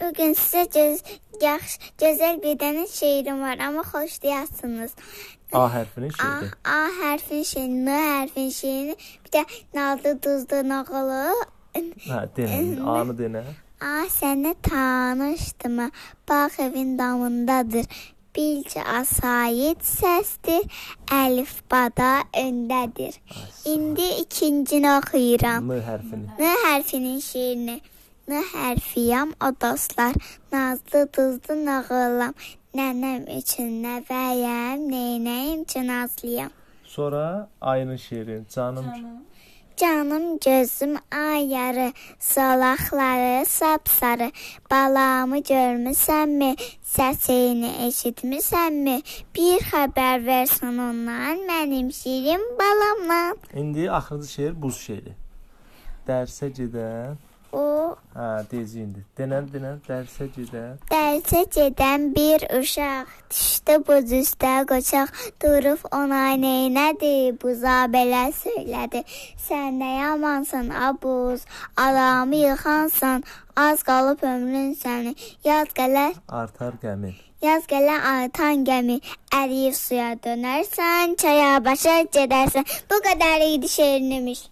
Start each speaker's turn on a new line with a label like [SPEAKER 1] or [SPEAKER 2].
[SPEAKER 1] Bu gün sizə göz, yaxşı, gözəl bir dənə şeirim var, amma xoşlayasınız.
[SPEAKER 2] A hərfinin
[SPEAKER 1] A,
[SPEAKER 2] şeiri.
[SPEAKER 1] A hərfin şeirini, N hərfin şeirini, bir də nazlı duzlu nağılı.
[SPEAKER 2] Hə, denə. A-nı denə.
[SPEAKER 1] A səni tanışdım, bağ evin damındadır. Bilcə asayit səsdir, əlifbada öndədir. İndi ikincini oxuyuram.
[SPEAKER 2] N hərfini.
[SPEAKER 1] N hərfinin şeirini. N hərfiyam o dostlar, nazlı duzlu nağılam. Nənəm üçün nəvəyəm, neynəyim üçün azlıyam.
[SPEAKER 2] Sonra ayının şeiri. Canım
[SPEAKER 1] Canım gözüm ayarı, salaqları sapsarı. Balamı görmüsənmi? Səsini eşitmisənmi? Bir xəbər versən ondan, mənim şirin balamdan.
[SPEAKER 2] İndi axırıncı şeir buz şeiri. Dərsə gedən,
[SPEAKER 1] O
[SPEAKER 2] hə, deyəcək indi. Denən, denən, dərsə gedən.
[SPEAKER 1] Dərsə gedən bir uşaq düşdü buz üstə qoçaq durub ona neynədi buza belə söylədi sən nə yamansan abuz alamı yıxansan az qalıb ömrün səni yaz gələr
[SPEAKER 2] Artar qəmin.
[SPEAKER 1] yaz gələr artan gəmi əriyib suya dönərsən çaya başa gedərsən bu qədər idi şeirimiş